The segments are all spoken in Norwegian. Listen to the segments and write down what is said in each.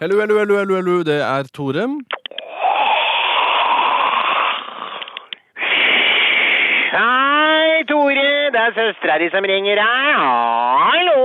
Hello, hello, hello, hello, hello. Det er Tore. Hei, Tore. Det er søstera di som ringer. Hei, hallo.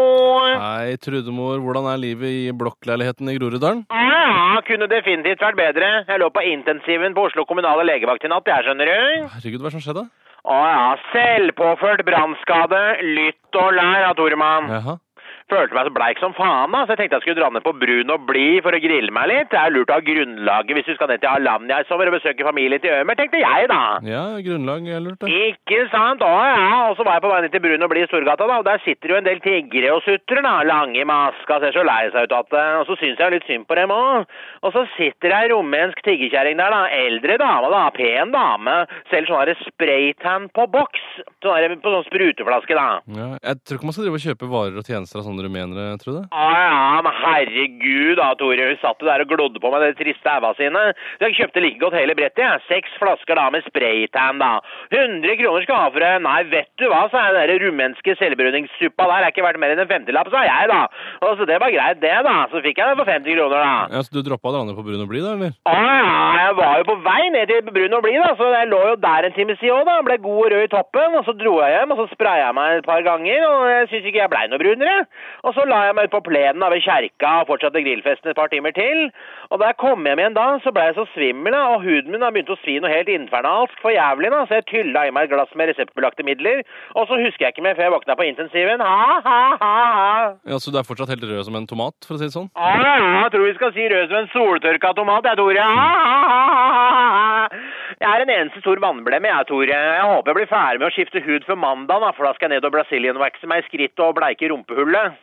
Hei, Trudemor. Hvordan er livet i blokkleiligheten i Groruddalen? Ja, kunne definitivt vært bedre. Jeg lå på intensiven på Oslo kommunale legevakt i natt, jeg skjønner du. Herregud, hva er det som skjedde? Å ja, selvpåført brannskade. Lytt og lær, ja, Toremann. Jaha. Følte meg så bleik som faen, da, så jeg tenkte jeg skulle dra ned på Brun og Bli for å grille meg litt. Det er lurt å ha grunnlaget hvis du skal ned til Alanya i sommer og besøke familien til Ømer, tenkte jeg da. Ja, grunnlag er lurt, det. Ikke sant? Å ja, og så var jeg på vei ned til Brun og Blid i Storgata, da, og der sitter jo en del tiggere og sutrer, da. Lange i maska, ser så lei seg ut at eh, Og så syns jeg litt synd på dem òg. Og så sitter ei rumensk tiggerkjerring der, da. Eldre dame, da. Pen dame. Selger sånn her spraytan på boks. Sånn her på sånn spruteflaske, da. Ja, jeg tror ikke man skal drive og kjøpe varer og tjenester av sånne rumenere, Trude. Ja, ja, men herregud da, Tore. Hun satt jo der og glodde på meg de triste æva sine. Så jeg kjøpte like godt hele brettet, jeg. Seks flasker da med spraytan, da. 100 kroner skal jeg ha for det. Nei, vet du hva, sa jeg. Den der rumenske selvbruningssuppa der er ikke verdt mer enn en femtilapp, sa jeg, da. Og så det var greit, det, da. Så fikk jeg den for 50 kroner, da. Ja, så du droppa å dra ned på Brun og Bli, da, eller? Å Ah, ja, jeg var jo på vei ned til Brun og Blid, da, så jeg lå jo der en time siden òg, da. Ble god og rød i toppen, og så dro jeg hjem, og så spraya jeg meg et par ganger, og jeg syns ikke jeg blei noe brunere. Og så la jeg meg ut på plenen da ved kjerka og fortsatte grillfesten et par timer til. Og da jeg kom hjem igjen da, så blei jeg så svimmel, da, og huden min da begynte å svi noe helt infernalsk for jævlig, da, så jeg tylla i meg et glass med reseptbelagte midler, og så husker jeg ikke mer før jeg våkna på intensiven. Ha, ha, ha, ha. Ja, Så du er fortsatt helt rød som en tomat, for å si det sånn? Ja, ja, ja, jeg tror vi skal si rød som en soltørka tomat, jeg, Tore. Ja, ja, ja, ja, ja. Jeg er en eneste stor vannblemme, jeg, Tore. Jeg håper jeg blir ferdig med å skifte hud før mandag, da, for da skal jeg ned og brasilianvaxe meg i skrittet og bleike rumpehullet.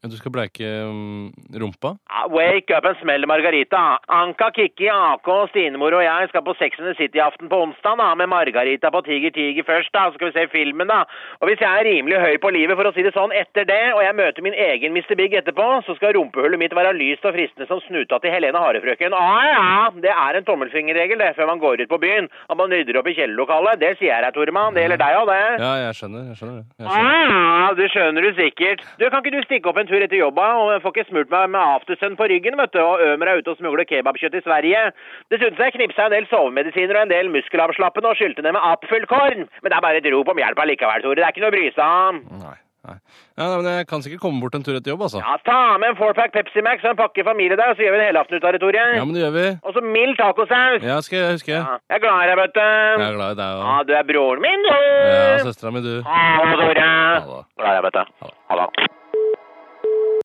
Ja, du skal bleike mm, rumpa? Ja, Wake up and smell Margarita. Anka, Kikki, AK, Stinemor og jeg skal på Sex and the City-aften på onsdag, da, med Margarita på Tiger Tiger først, da, så skal vi se filmen, da. Og hvis jeg er rimelig høy på livet, for å si det sånn, etter det, og jeg møter min egen Mr. Big etterpå, så skal rumpehullet mitt være lyst og fristende som snuta til Helene Harefrøken. Å ja, det er en tommelfingerregel, det, før man går ut på byen. At man rydder opp i kjellerlokalet. Det sier jeg deg, Toremann. Det gjelder deg òg, det. Ja, jeg skjønner. Jeg skjønner det. Jeg skjønner. Ah, det skjønner du sikkert. Du, Kan ikke du stikke opp en tur etter jobba? Og jeg får ikke smurt meg med aftersun på ryggen, vet du. Og Ømer er ute og smugler kebabkjøtt i Sverige. Dessuten så har jeg knipsa en del sovemedisiner og en del muskelavslappende og skylte ned med Apfelkorn. Men det er bare et rop om hjelp allikevel, Tore. Det er ikke noe å bry seg om. Nei. nei. Ja, nei, men Jeg kan sikkert komme bort en tur etter jobb, altså. Ja, ta med en fourpack Pepsi Max og en pakke familie der, så gjør vi en helaften ut av det, Tore. Ja, men det gjør vi. Og så mild tacosaus. Ja, skal jeg huske. Ja, Jeg er glad i deg, vet Jeg du. er glad i deg Ja, og du er broren min, du. ja, søstera mi, du. Ha det, Tore. da. Glad i deg, vet du. Ha det.